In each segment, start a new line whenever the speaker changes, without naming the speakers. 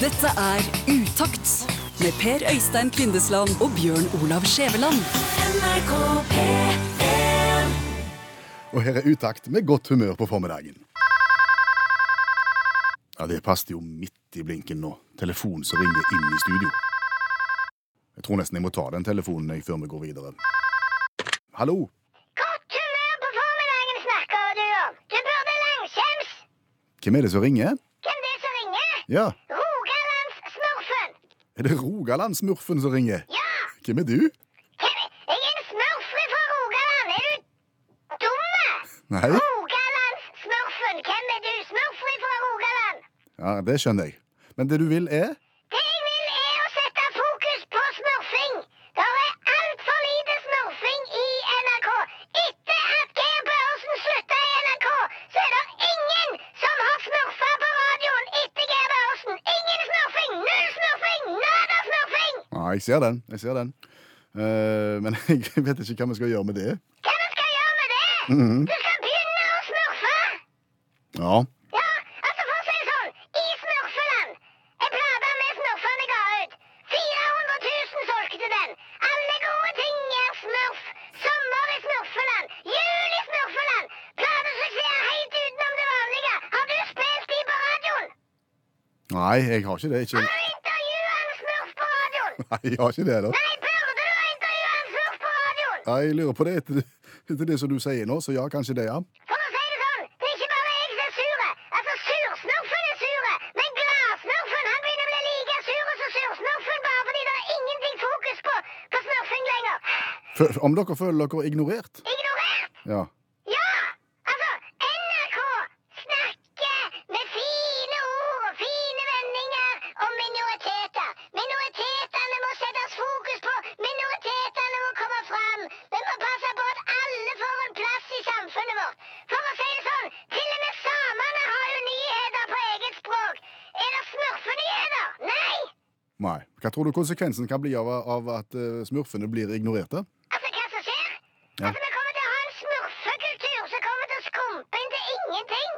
Dette er Utakt med Per Øystein Kvindesland og Bjørn Olav Skjæveland.
Og her er utakt med godt humør på formiddagen. Ja, det passet jo midt i blinken nå. Telefon som ringer inn i studio. Jeg tror nesten jeg må ta den telefonen jeg før vi går videre. Hallo?
Godt humør på formiddagen snakker du om. Du burde langskjems.
Hvem er det som ringer?
Hvem det er som ringer?
Ja,
Rogalandssmurfen.
er det Rogalandsmurfen som ringer?
Ja,
Hvem er du?
hvem Jeg er en smurf fra Rogaland. Er du dumme?
Nei?
Rogalandssmurfen. Hvem er du? Smurf fra Rogaland.
Ja, det skjønner jeg. Men det du vil er?
Det jeg vil, er å sette fokus på smurfing. Det er altfor lite smurfing i NRK. Etter at Geir Børresen slutta i NRK, så er det ingen som har smurfa på radioen etter Geir Børresen. Ingen smurfing! Null smurfing! Nada smurfing!
Ja, jeg ser den. Jeg ser den. Eh, men jeg vet ikke hva vi skal gjøre med det.
Hva du skal gjøre med det? Du skal begynne å smurfe.
Ja,
Ja, altså for å si det sånn, i Smurfeland, en plate med smurfene ga ut. 400 000 solgte den. Alle gode ting er smurf. Sommer i Smurfeland, jul i Smurfeland. Platesuksess er helt utenom det vanlige. Har du spilt de på radioen?
nei, jeg har ikke det. Ikke...
Har du intervjua en smurf på radioen?
Nei, jeg har ikke det, da.
Nei, burde du ha intervjua en smurf på radioen?
Ja, jeg lurer på det etter, etter det som du sier nå, så ja, kanskje det, ja.
For å si det sånn, det er ikke bare jeg som er sure. Altså, sursnurfen er sure. Men gladsnurfen han begynner å bli like sur som sursnurfen bare fordi det er ingenting fokus på, på snurfing lenger.
Fø- om dere føler dere ignorert?
Ignorert!
Ja.
Ja! Altså, NRK snakker med fine ord og fine vendinger om minoriteter. Minoritetene må settes fokus på. Minoritetene må komme fram. Vi må passe på at alle får en plass i samfunnet vårt. For å si det sånn, til og med samene har jo nyheter på eget språk. Er det smurfenyheter? Nei!
Nei. Hva tror du konsekvensen kan bli av, av at eh, smurfene blir ignorerte?
Altså, hva som skjer?
Ja.
Altså, vi kommer til å ha en smurfekultur som kommer til å skrumpe inn til ingenting.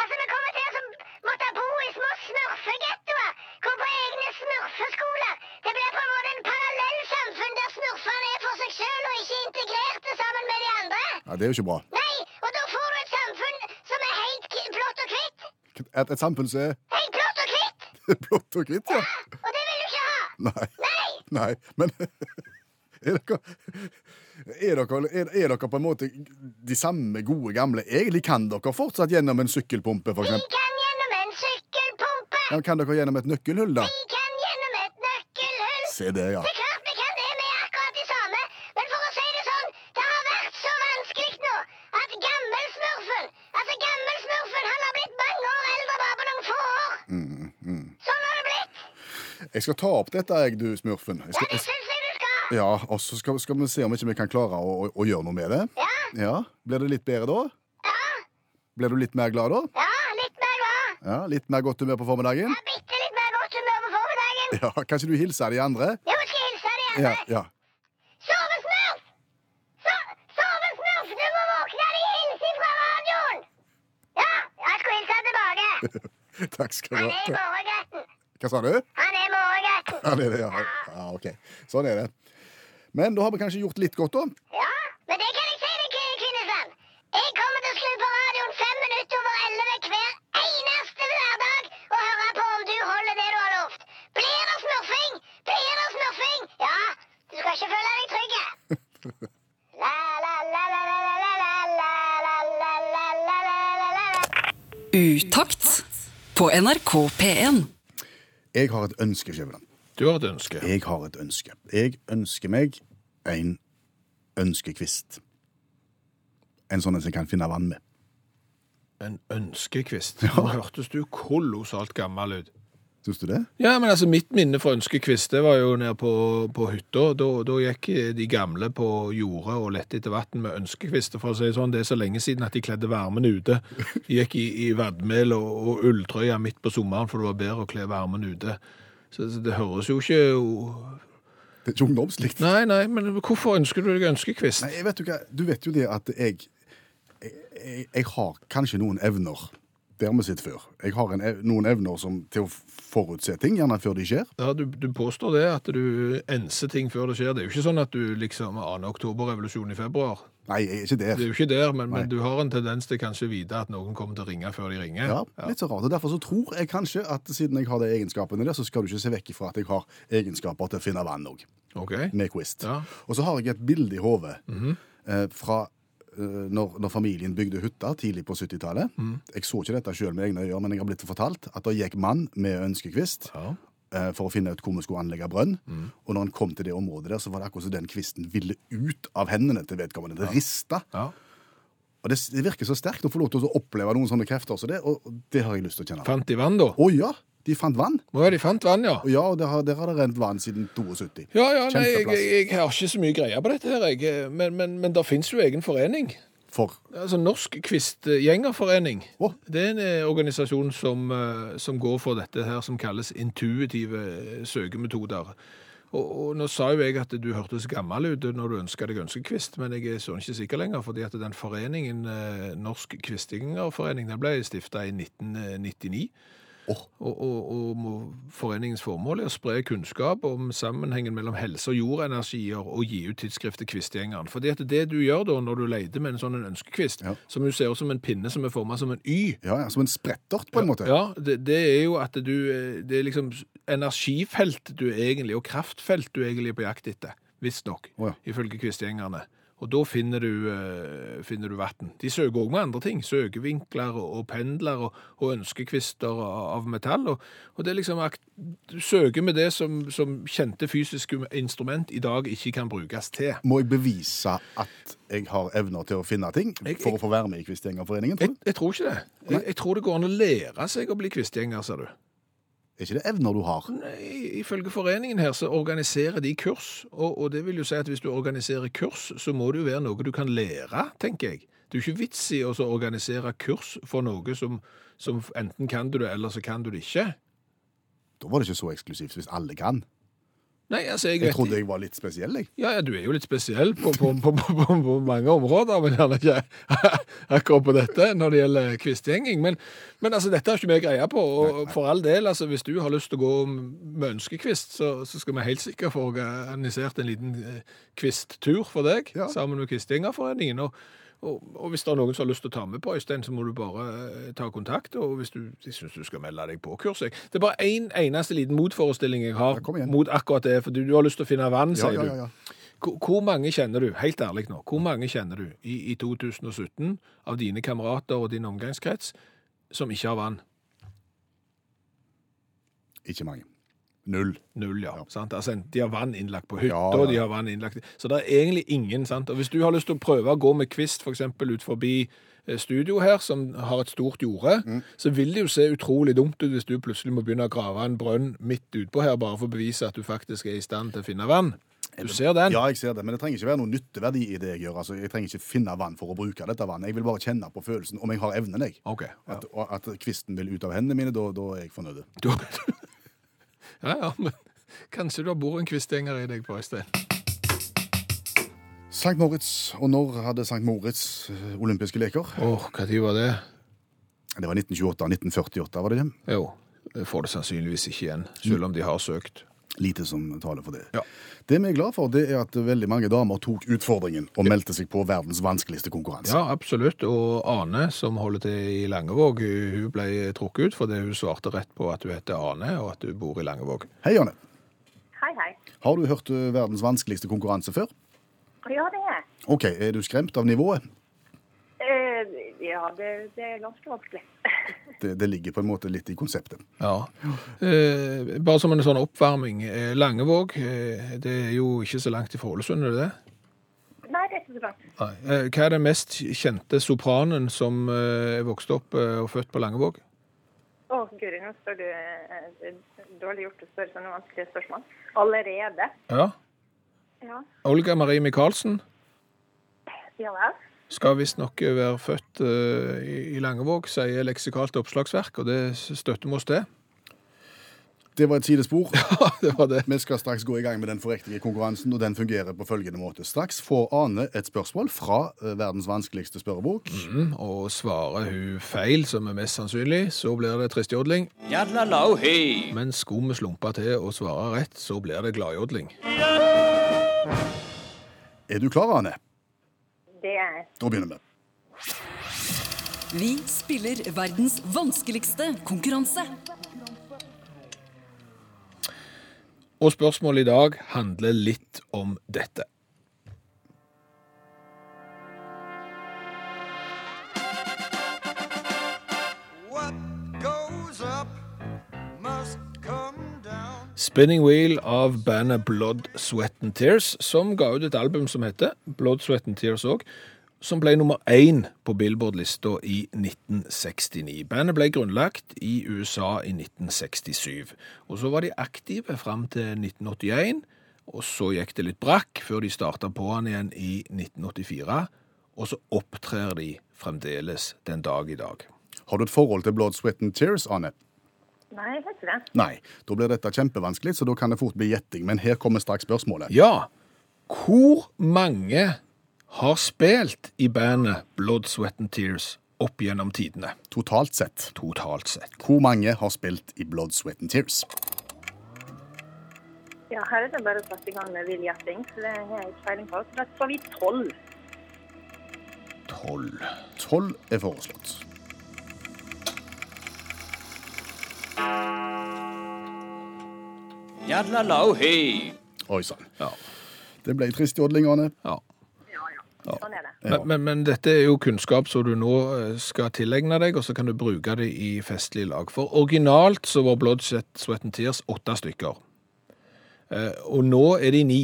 Altså, vi kommer til å som- måtte bo i små smurfegettoer, gå på egne smurfeskoler. Det blir på en måte en parallellsamfunn der smurfene er for seg sjøl og ikke integrerte sammen med de andre.
Ja, Det er jo ikke bra.
Nei, og da får du et samfunn som er helt k- blått og hvitt.
At et samfunn som er
Helt blått og hvitt!
blått og hvitt, ja.
Og det vil du ikke ha.
Nei.
Nei!
Nei. Men er dere, er, dere, er, er dere på en måte de samme gode gamle? Egentlig kan dere fortsatt gjennom en sykkelpumpe, for
Vi
eksempel.
kan gjennom en sykkelpumpe.
Ja, kan dere gjennom et nøkkelhull, da?
Vi kan gjennom et nøkkelhull.
Se det, ja.
Det er klart vi kan det, vi er akkurat de samme. Men for å si det sånn, det har vært så vanskelig nå at gammelsmurfen Altså, gammelsmurfen han har blitt mange år eldre bare på noen få år.
Mm,
Sånn har det blitt.
Jeg skal ta opp dette, jeg, du smurfen.
Ja,
Jeg skal,
det
jeg,
syns jeg du skal.
ja, Og så skal, skal vi se om ikke vi kan klare å, å, å gjøre noe med det.
Ja,
Ja, Blir det litt bedre da?
ja,
Blir du litt mer glad da?
ja, litt mer glad.
Ja, Litt mer godt humør på formiddagen?
Ja, bitte litt mer godt humør på formiddagen.
Ja, Kan ikke du hilse de andre?
Jo, jeg skal hilse de
Ja,
andre.
ja.
Sovesnurf! So- Sovesnurf, du må våkne, de hilser fra radioen. Ja, jeg skulle hilse tilbake.
Takk skal du
Han er i
ha.
morgenretten.
Hva sa du?
Han er morgenretten.
Ja, det er det, ja. ja, ok. Sånn er det. Men da har vi kanskje gjort litt godt, da.
Ja, men det kan jeg si deg, Kvinne- Kvinnesland. Jeg kommer til å skru på radioen fem minutter over elleve hver eneste hverdag og høre på om du holder det du har lovt. Blir det smurfing? Blir det smurfing? Ja, du skal ikke føle deg trygg. La, la, la, la, la, la, la, la, la, la, la, la, la, la, la, la.
Utakt på NRK P1.
Jeg har et ønske, Skjæveland.
Du har et ønske.
Jeg har et ønske. Jeg ønsker meg en ønskekvist. En sånn en som kan finne vann med.
En ønskekvist. Nå hørtes du kolossalt gammel ut.
Syns du det?
Ja, men altså, mitt minne fra ønskekvist, det var jo nede på, på hytta. Da, da gikk de gamle på jordet og lette etter vann med ønskekvister, for å si det sånn. Det er så lenge siden at de kledde varmen ute. De gikk i, i vadmel og, og ulltrøya midt på sommeren, for det var bedre å kle varmen ute. Så så det høres jo ikke
Det er ikke ungdomslikt.
Nei, nei, men hvorfor ønsker du deg ønskekvist?
Nei, vet du hva? Du vet jo det at jeg Jeg, jeg, jeg har kanskje noen evner. Det har vi sett før. Jeg har en, ev- noen evner som, til å forutse ting, gjerne før de skjer.
Ja, du, du påstår det, at du enser ting før det skjer. Det er jo ikke sånn at du liksom aner oktoberrevolusjonen i februar.
Nei, jeg er ikke der.
Det er jo ikke der, men,
Nei.
men du har en tendens til kanskje å vite at noen kommer til å ringe før de ringer.
Ja, litt så rart. Og Derfor så tror jeg kanskje at siden jeg har de egenskapene der, så skal du ikke se vekk ifra at jeg har egenskaper til å finne vann òg,
Ok.
med Quist.
Ja. Mhm.
Og så har jeg et bilde i hodet eh, fra eh, når, når familien bygde hytta tidlig på 70-tallet.
Mhm.
Jeg så ikke dette sjøl med egne øyne, men jeg har blitt fortalt at det gikk mann med ønskekvist
Ja.
eh, for å finne ut hvor vi skulle anlegge brønn.
Mm.
Og når han kom til det området der, så var det akkurat som den kvisten ville ut av hendene til vedkommende. Det rista.
ja.
Og det, det virker så sterkt å få lov til å oppleve noen sånne krefter som det, og det har jeg lyst til å kjenne.
Fant de vann, da?
Å ja, de fant vann.
Å ja, de fant vann, ja.
Og ja, og der har, der har det rent vann siden 72.
Ja, ja, nei, jeg,
Kjempeplass.
jeg, jeg har ikke så mye greie på dette her, jeg. Men, men, men det finnes jo egen forening.
For
Altså Norsk Kvistgjengerforening.
Å.
Det er en eh, organisasjon som, eh, som går for dette her som kalles intuitive eh, søkemetoder. Og, og nå sa jo jeg at du hørtes gammel ut når du ønska deg ønskekvist, men jeg er sånn ikke sikker lenger, fordi at den foreningen, eh, Norsk Kvistgjengerforening, den ble stifta i eh, 1999.
Åh.
Og, og, og må- foreningens formål er å spre kunnskap om sammenhengen mellom helse og jordenergier og gi ut tidsskriftet Kvistgjengeren. Fordi at det du gjør da når du leter med en sånn en ønskekvist,
Ja.
som jo ser ut som en pinne som er formet som en Y,
ja, ja, som en sprettert, på en måte.
ja, det, det er jo at du eh, Det er liksom energifelt du egentlig, og kraftfelt du egentlig er på jakt etter. Visstnok.
Å ja.
Ifølge kvistgjengerne. Og da finner du, eh, finner du vann. De søker òg med andre ting. Søkevinkler og, og pendler og, og ønskekvister av, av metall. Og, og det er liksom akt, Du søker med det som, som kjente fysiske instrument i dag ikke kan brukes til.
Må jeg bevise at jeg har evner til å finne ting
Jeg- jeg-
for å få være med i Kvistgjengerforeningen?
Jeg,
tror du?
jeg tror ikke det. Jeg, jeg tror det går an å lære seg å bli kvistgjenger, ser du.
Er ikke det evner du har?
Nei, Ifølge foreningen her så organiserer de kurs, og, og det vil jo si at hvis du organiserer kurs, så må det jo være noe du kan lære, tenker jeg. Det er jo ikke vits i å så organisere kurs for noe som, som enten kan du det, eller så kan du det ikke.
Da var det ikke så eksklusivt hvis alle kan.
Nei, altså, jeg
Jeg
vet ikke.
trodde jeg var litt spesiell, jeg.
Ja, ja, du er jo litt spesiell på, på, på, på, på, på mange områder, men gjerne ikke akkurat på dette når det gjelder kvistgjenging. Men, men altså, dette har ikke vi greie på, og for all del, altså, hvis du har lyst til å gå med ønskekvist, så, så skal vi helt sikkert få organisert en liten eh, kvisttur for deg,
Ja.
sammen med Kvistgjengerforeningen. Og, og, og hvis det er noen som har lyst til å ta med på Øystein, så må du bare eh, ta kontakt, og hvis du jeg synes du skal melde deg på kurset. jeg. Det er bare en eneste liten motforestilling jeg har
Ja, kom igjen.
mot akkurat det, for du, du har lyst til å finne vann,
Ja,
sier
ja,
du.
ja, ja.
Hvor hvor mange kjenner du, helt ærlig nå, hvor mange kjenner du i, i 2017 av dine kamerater og din omgangskrets som ikke har vann?
Ikke mange. Null.
Null, ja. Sant? Altså, en- de har vann innlagt på hytta,
Ja, ja.
de har vann innlagt Så det er egentlig ingen, sant. Og hvis du har lyst til å prøve å gå med kvist f.eks. ut forbi eh, studio her, som har et stort jorde,
Mm.
så vil det jo se utrolig dumt ut hvis du plutselig må begynne å grave en brønn midt utpå her, bare for å bevise at du faktisk er i stand til å finne vann. Du ser den?
Ja, jeg ser det, men det trenger ikke være noen nytteverdi i det jeg gjør. Altså, jeg trenger ikke finne vann for å bruke dette vannet. Jeg vil bare kjenne på følelsen om jeg har evnen, jeg.
OK. Ja.
At, og at kvisten vil ut av hendene mine, da, da er jeg fornøyd.
Du har... ja, ja, men kanskje du har bodd en kvistgjenger i deg på Øystein.
St. Moritz, og når hadde St. Moritz eh, olympiske leker?
Åh, hva tid var det?
Det var 1928 1948, var det det?
Jo, det får det sannsynligvis ikke igjen, selv om de har søkt.
Lite som taler for det.
Ja.
Det vi er glad for, det er at veldig mange damer tok utfordringen og meldte seg på verdens vanskeligste konkurranse.
Ja, absolutt. Og Ane, som holder til i Langevåg, hun ble trukket ut fordi hun svarte rett på at hun heter Ane, og at hun bor i Langevåg.
Hei, Janne.
Hei, hei.
Har du hørt eh, verdens vanskeligste konkurranse før?
Ja, det er jeg.
OK, er du skremt av nivået?
Eh, ja, det, det er ganske vanskelig.
Det, det ligger på en måte litt i konseptet.
Ja. Eh, bare som en sånn oppvarming. Eh, Langevåg, eh, det er jo ikke så langt ifra Ålesund, er det det?
Nei, det er ikke så bra.
Nei. Eh, hva er den mest kjente sopranen som eh, er vokst opp eh, og født på Langevåg?
Å, Guri, nå spør du eh, eh, Dårlig gjort å spørre sånne vanskelige spørsmål. Allerede?
Ja.
Ja.
Olga Marie Michaelsen
Ja vel?
skal visstnok være født eh, i- i Langevåg, sier leksikalt oppslagsverk, og det støtter vi oss til.
Det var et sidespor.
det var det.
Vi skal straks gå i gang med den forriktige konkurransen, og den fungerer på følgende måte. Straks får Ane et spørsmål fra eh, verdens vanskeligste spørrebok.
Mm, og svarer hun feil, som er mest sannsynlig, så blir det tristjodling. Men skulle vi slumpe til og svare rett, så blir det gladjodling.
Er du klar, Ane?
Det er
Da begynner vi.
Vi spiller verdens vanskeligste konkurranse.
Og spørsmålet i dag handler litt om dette.
What goes up must come down.
Spinning Wheel av bandet Blood, Sweat and Tears, som ga ut et album som heter Blood, Sweat and Tears òg, som ble nummer én på Billboard-lista i 1969. Bandet ble grunnlagt i USA i 1967, og så var de aktive fram til 1981, og så gikk det litt brakk før de starta på han igjen i 1984, og så opptrer de fremdeles den dag i dag.
Har du et forhold til Blood, Sweat and Tears, Ane?
Nei, jeg heter det.
Nei. Da blir dette kjempevanskelig, så da kan det fort bli gjetting. Men her kommer straks spørsmålet.
Ja, hvor mange har spilt i bandet Blood, Sweat and Tears opp gjennom tidene,
Totalt sett,
totalt sett?
hvor mange har spilt i Blood, Sweat and Tears?
Ja, her er det bare å sette i gang med vill gjetting. så Det har jeg ikke peiling på. Så da får vi tolv.
Tolv.
Tolv er foreslått. Oi sann.
Ja.
Det ble trist jodling, Ane.
ja.
Ja, ja. Sånn er det.
Men, men, men dette er jo kunnskap som du nå eh, skal tilegne deg, og så kan du bruke det i festlig lag. For originalt så var Blood, Sweat- Sweat and Tears åtte stykker. Eh, Og nå er de ni.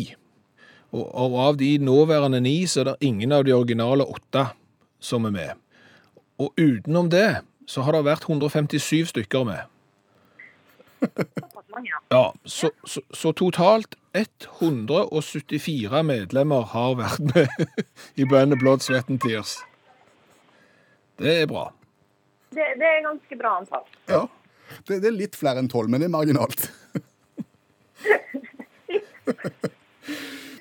Og, og av de nåværende ni, så er det ingen av de originale åtte som er med. Og utenom det, så har det vært 157 stykker med.
Såpass mange, ja.
Ja, så, så, så totalt 174 medlemmer har vært med i bandet Blood, Sweat and Tears. Det er bra.
Det, det er ganske bra antall.
Ja. Det, det er litt flere enn tolv, men det er marginalt.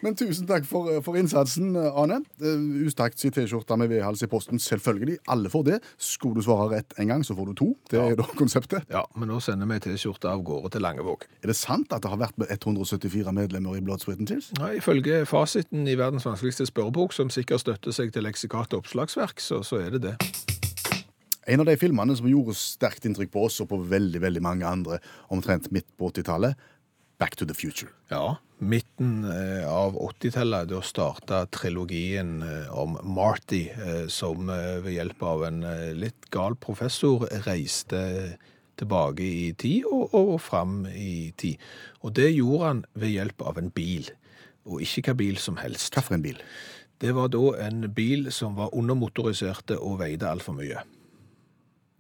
Men tusen takk for, for innsatsen, Ane. Eh, Ustakts i T-skjorta med V-hals i posten, selvfølgelig. Alle får det. Skulle du svare rett en gang, så får du to. Det er da konseptet.
Ja, men nå sender vi T-skjorte av gårde til Langevåg.
Er det sant at det har vært 174 medlemmer i Blood, Sweat and Tears?
Ja, ifølge fasiten i verdens vanskeligste spørrebok, som sikkert støtter seg til leksikat og oppslagsverk, så, så er det det.
En av de filmene som gjorde sterkt inntrykk på oss og på veldig veldig mange andre omtrent midt på 80-tallet, Back to the Future.
Ja, midten eh, av 80-tallet, da starta trilogien eh, om Marty, eh, som eh, ved hjelp av en eh, litt gal professor reiste tilbake i tid og, og, og fram i tid. Og det gjorde han ved hjelp av en bil, og ikke hva bil som helst.
Hva for en bil?
Det var da en bil som var undermotoriserte og veide altfor mye.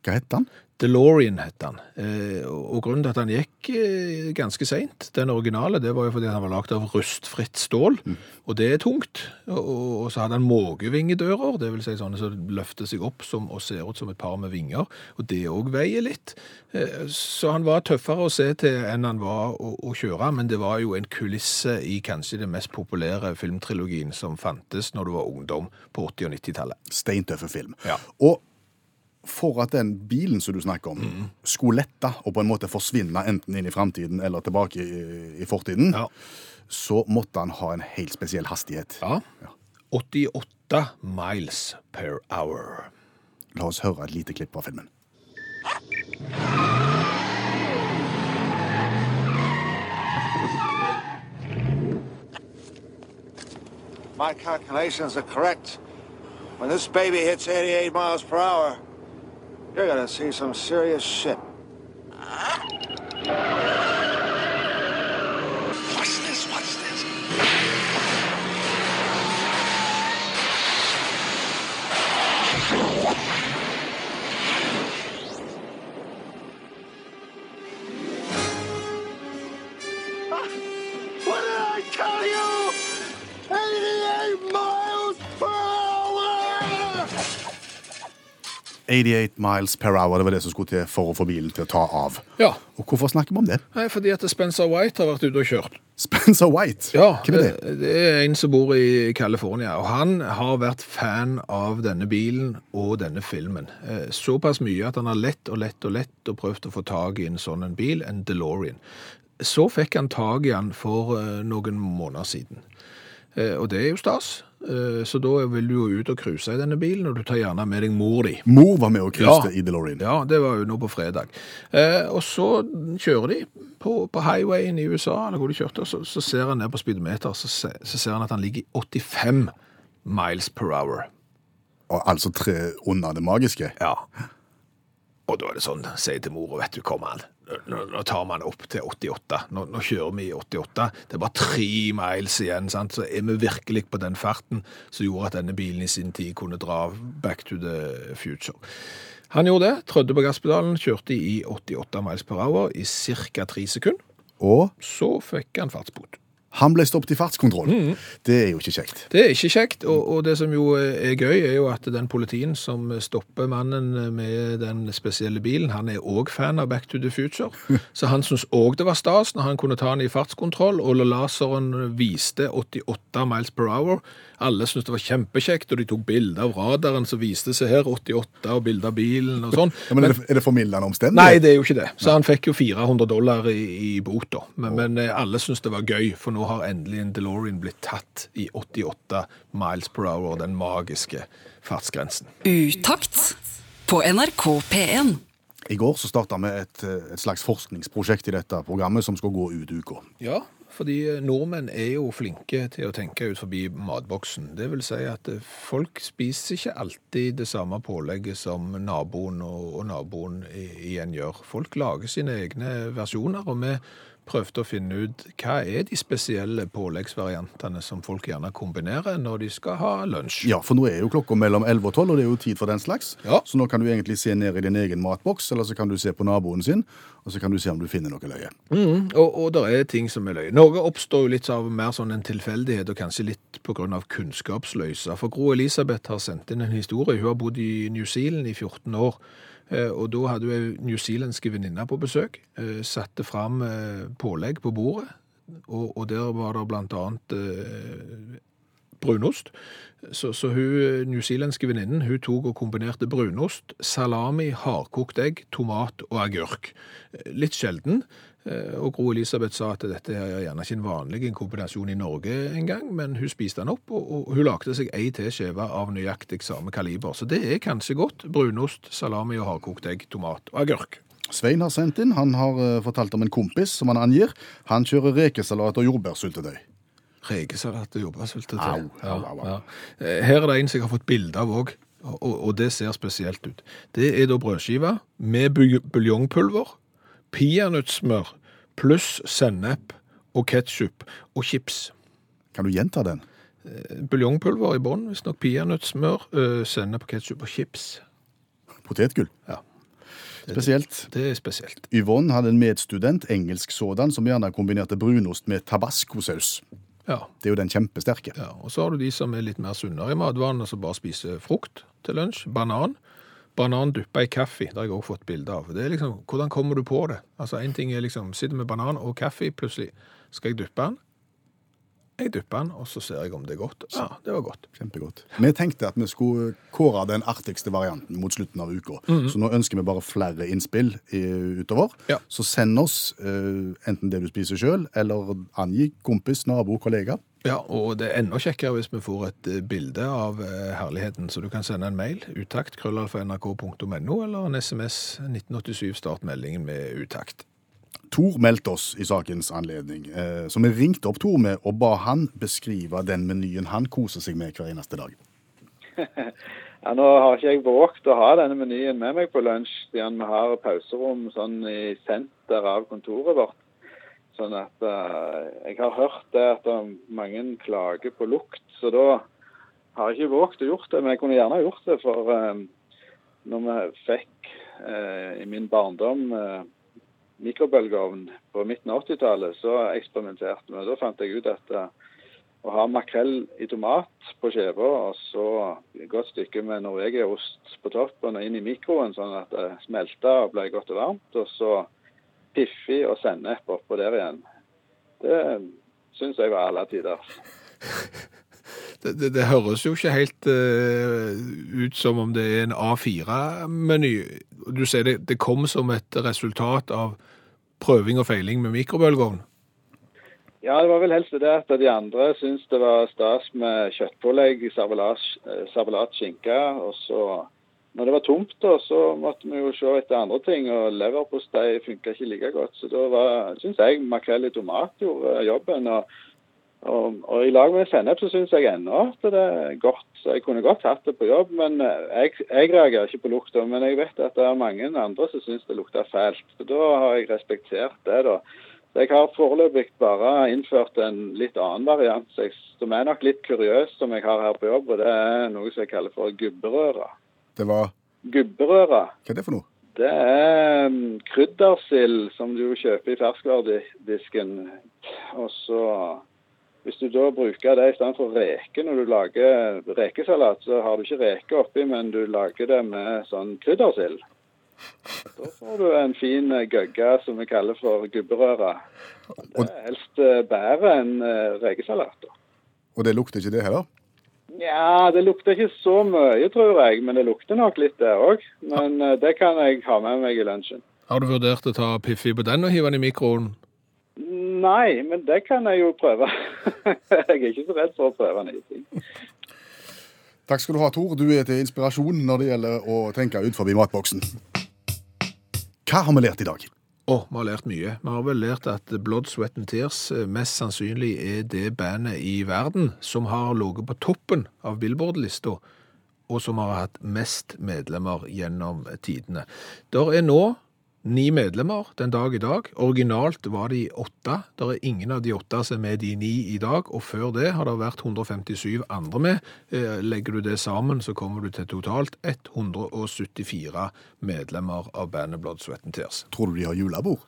Hva het den?
DeLorean het han. Eh, og og grunnen til at han gikk eh, ganske seint, den originale, det var jo fordi han var lagd av rustfritt stål, og det er tungt. Og, og, og så hadde han mågevingedører, det vil si sånne som løfter seg opp som, og ser ut som et par med vinger, og det òg veier litt. Eh, så han var tøffere å se til enn han var å, å kjøre, men det var jo en kulisse i kanskje den mest populære filmtrilogien som fantes når du var ungdom på 80- og 90-tallet.
Steintøffe film.
Ja.
Og for at den bilen som du snakker om, skulle lette og på en måte forsvinne enten inn i framtiden eller tilbake i, i fortiden,
Ja.
så måtte han ha en helt spesiell hastighet.
Ja. 88 miles per hour.
La oss høre et lite klipp fra filmen.
My calculations are correct. When this baby hits 88 miles per hour, you're gonna see some serious shit. What's this? What's this? What did I tell you? 88 miles per hour!
88 miles per hour, det var det som skulle til for å få bilen til å ta av.
Ja.
Og hvorfor snakker vi om det?
Nei, fordi at Spencer White har vært ute og kjørt.
Spencer White, hvem er det?
eh, Det er en som bor i California, og han har vært fan av denne bilen og denne filmen. Eh, Såpass mye at han har lett og lett og lett og prøvd å få tag i en sånn en bil, en DeLorean. Så fikk han tag i han for eh, noen måneder siden. Eh, Og det er jo stas. Eh, Så da vil du jo ut og cruise i denne bilen, og du tar gjerne med deg mor di.
Mor var med og kruste
Ja.
i DeLorean.
Ja, det var jo nå på fredag. Eh, og så kjører de på, på highwayen i USA, eller hvor de kjørte, og så, så ser han ned på speedometer, så, se, så ser han at han ligger i 85 miles per hour.
Og altså tre under det magiske.
Ja. Og da er det sånn, sier til mora, vet du, kom an. Nå, nå tar man opp til 88. Nå, nå kjører vi i 88. Det er bare tre miles igjen, sant? Så er vi virkelig på den farten som gjorde at denne bilen i sin tid kunne dra back to the future. Han gjorde det, trødde på gasspedalen, kjørte i 88 miles per hour i cirka tre sekunder.
Og
Så fikk han fartsbot.
han ble stoppet i fartskontroll.
Mm,
Det er jo ikke kjekt.
Det er ikke kjekt, og, og det som jo er gøy, er jo at den politien som stopper mannen med den spesielle bilen, han er òg fan av Back to the Future. Så han syntes òg det var stas når han kunne ta den i fartskontroll, og laseren viste 88 miles per hour. Alle syntes det var kjempekjekt, og de tok bilder av radaren som viste seg her, 88, og bilder av bilen og sånn.
Ja, men er det, er det formildende
Nei,
omstendighet?
det er jo ikke det. Så han fikk jo 400 dollar i, i bot, da. Men, men eh, alle syntes det var gøy, for nå har endelig en DeLorean blitt tatt i 88 miles per hour, den magiske fartsgrensen.
Utakt på NRK P1.
I går så starta vi et, eh, et slags forskningsprosjekt i dette programmet som skal gå ut uka.
Ja, fordi eh, nordmenn er jo flinke til å tenke ut forbi matboksen. Det vil si at eh, folk spiser ikke alltid det samme pålegget som naboen og, og naboen i- igjen gjør. Folk lager sine egne versjoner, og vi prøvde å finne ut hva er de spesielle påleggsvariantene som folk gjerne kombinerer når de skal ha lunsj.
Ja, for nå er jo klokka mellom 11 og 12, og det er jo tid for den slags.
Ja.
Så nå kan du egentlig se ned i din egen matboks, eller så kan du se på naboen sin, og så kan du se om du finner noe løye.
Mm, og, og det er ting som er løye. Noe oppstår jo litt av mer sånn en tilfeldighet, og kanskje litt på grunn av kunnskapsløse. For Gro Elisabeth har sendt inn en historie. Hun har bodd i New Zealand i 14 år. eh, Og da hadde hun ei newzealandske venninne på besøk. eh, Satte fram eh, pålegg på bordet, og, og der var det blant annet eh, brunost. Så, så hun newzealandske venninnen hun tok og kombinerte brunost, salami, hardkokt egg, tomat og agurk. Eh, Litt sjelden. eh, Og Gro Elisabeth sa at dette er gjerne ikke en vanlig kombinasjon i Norge engang, men hun spiste den opp, og, og hun lagde seg ei til skive av nøyaktig samme kaliber. Så det er kanskje godt. Brunost, salami og hardkokt egg, tomat og agurk.
Svein har sendt inn, han har eh, fortalt om en kompis som han angir. Han kjører rekesalat og jordbærsyltetøy.
Rekesalat og jordbærsyltetøy.
Au, au, au, au.
Ja, ja. Her er det en som jeg har fått bilde av òg, og, og det ser spesielt ut. Det er da brødskive med bu- buljongpulver, peanøttsmør pluss sennep og ketsjup og chips.
Kan du gjenta den?
Buljongpulver i bånn, visstnok peanøttsmør, øh, sennep og ketsjup og chips.
Potetgull.
Ja.
Spesielt.
Det er spesielt.
Yvonne hadde en medstudent, engelsk sådan, som gjerne kombinerte brunost med tabascosaus.
Ja.
Det er jo den kjempesterke.
Ja, og så har du de som er litt mer sunnere i matvanene, som bare spiser frukt til lunsj. Banan. Banan dyppa i kaffe. Det har jeg også fått bilde av. Det er liksom, Hvordan kommer du på det? Altså, Én ting er liksom Sitter med banan og kaffe, plutselig skal jeg dyppe den. Jeg dypper den, og så ser jeg om det er godt. Ja, det var godt.
Kjempegodt. Vi tenkte at vi skulle eh, kåre den artigste varianten mot slutten av uka. Så nå ønsker vi bare flere innspill eh, utover.
Mhm. Ja.
Så send oss eh, enten det du spiser sjøl, eller angi kompis, nabo, kollega.
Ja, og det er enda kjekkere hvis vi får et eh, bilde av eh, herligheten, så du kan sende en mail, utakt, krøllalfa.nrk.no, eller en SMS 1987, start meldingen med utakt.
Tor meldte oss i sakens anledning, eh, så vi ringte opp Tor med og ba han beskrive den menyen han koser seg med hver eneste dag.
Ja, nå har ikke jeg våget å ha denne menyen med meg på lunsj, siden vi har pauserom sånn i senter av kontoret vårt. Sånn at eh, Jeg har hørt det at det er mange klager på lukt, så da har jeg ikke våget å gjort det. Men jeg kunne gjerne ha gjort det, for eh, når vi fikk eh, i min barndom eh, mikrobølgeovn på midten av 80-tallet, så eksperimenterte vi. Da fant jeg ut at eh, å ha makrell i tomat på skiva, og så et godt stykke med norvegiaost på toppen og inn i mikroen, sånn at det smelter og ble godt og varmt. Og så piffi og sennep oppå der igjen. Det syns jeg var alle tider.
Det, det, det høres jo ikke helt eh, ut som om det er en A4-meny. Du sier det, det kom som et resultat av prøving og feiling med mikrobølgeovn.
Ja, det var vel helst det at de andre syntes det var stas med kjøttpålegg, servelas, eh, servelat, skinke. Og så, når det var tomt, da, så måtte vi jo se etter andre ting. Og leverpostei funka ikke like godt. Så da var, syns jeg makrell i tomat gjorde jobben. Og, og, og i lag med sennep så syns jeg ennå at det er godt. Så jeg kunne godt hatt det på jobb, men eh, jeg, jeg reagerer ikke på lukta. Men jeg vet at det er mange andre som syns det lukter fælt. Så da har jeg respektert det, da. Så Jeg har foreløpig bare innført en litt annen variant, så jeg- som er nok litt kuriøs, som jeg har her på jobb. og Det er noe som jeg kaller for gubberøre.
Det var
Gubberøre
Hva er det for noe?
det er mm, kryddersild som du kjøper i ferskvaredisken. Og så Hvis du da bruker det i stedet for reke når du lager rekesalat, så har du ikke reke oppi, men du lager det med sånn kryddersild. Da får du en fin eh, gøgge som vi kaller for gubberøre. Det
Og-
er helst eh, bedre enn eh, rekesalat. da.
Og det lukter ikke det heller?
Nja, det lukter ikke så mye, tror jeg. Men det lukter nok litt der òg. Men eh, det kan jeg ha med meg i lunsjen.
Har du vurdert å ta Piffi på den og hive den i mikroen?
Nei, men det kan jeg jo prøve. jeg er ikke så redd for å prøve nye ting.
Takk skal du ha, Tor. Du er til inspirasjon når det gjelder å tenke ut forbi matboksen. Hva har vi lært i dag?
Å, vi har lært mye. Vi har vel lært at Blood, Sweat and Tears eh, mest sannsynlig er det bandet i verden som har ligget på toppen av Billboard-lista, og som har hatt mest medlemmer gjennom tidene. Der er nå ni medlemmer den dag i dag. Originalt var de åtte. Der er ingen av de åtte som er med de ni i dag, og før det har det vært 157 andre med. Eh, Legger du det sammen, så kommer du til totalt 174 medlemmer av bandet Blood, Sweat and Tears.
Tror du de har julebord?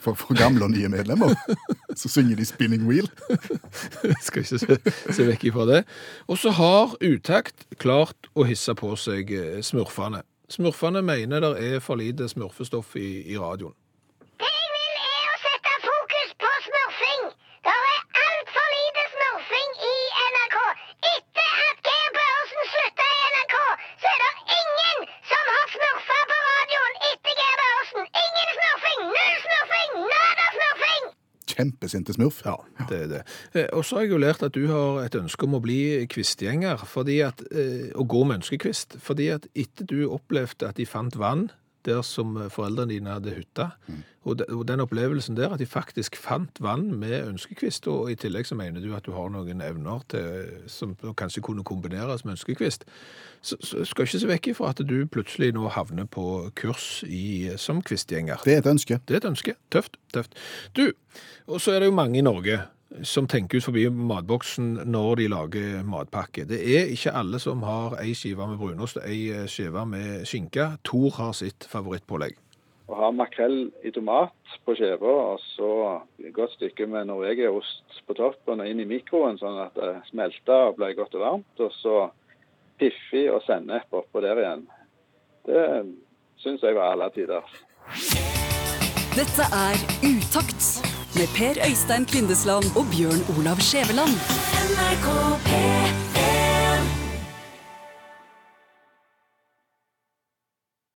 For, for gamle og nye medlemmer? Så synger de 'Spinning Wheel'.
skal ikke se, se vekk ifra det. Og så har utakt klart å hisse på seg eh, smurfene. Smurfene mener det er for lite smurfestoff i, i radioen.
Det jeg vil, er å sette fokus på smurfing. Det er altfor lite smurfing i NRK. Etter at Geir Børresen slutta i NRK, så er det ingen som har smurfa på radioen etter Geir Børresen. Ingen smurfing! Null smurfing! Nada smurfing!
Kjempesinte smurf.
Ja, det er det. Eh, Og så har jeg jo lært at du har et ønske om å bli kvistgjenger, fordi at, eh, å gå med ønskekvist. Fordi at etter du opplevde at de fant vann der som eh, foreldrene dine hadde hytta, og, de, og den opplevelsen der at de faktisk fant vann med ønskekvist, og i tillegg så mener du at du har noen evner til, eh, som kanskje kunne kombineres med ønskekvist, så, så skal ikke se vekk ifra at du plutselig nå havner på kurs i, eh, som kvistgjenger.
Det er et ønske.
Det er et ønske. Tøft, tøft. Du, og så er det jo mange i Norge som tenker ut forbi matboksen når de lager matpakke. Det er ikke alle som har ei skive med brunost og ei skive med skinke. Tor har sitt favorittpålegg.
Å ha makrell i tomat på skiva, og så et godt stykke med norvegiaost på toppen og inn i mikroen, sånn at det smelter og ble godt og varmt. Og så piffi og sennep oppå der igjen. Det syns jeg var alle tider.
Dette er Utakt med Per Øystein Kvindesland og Bjørn Olav Skjæveland.
NRK P3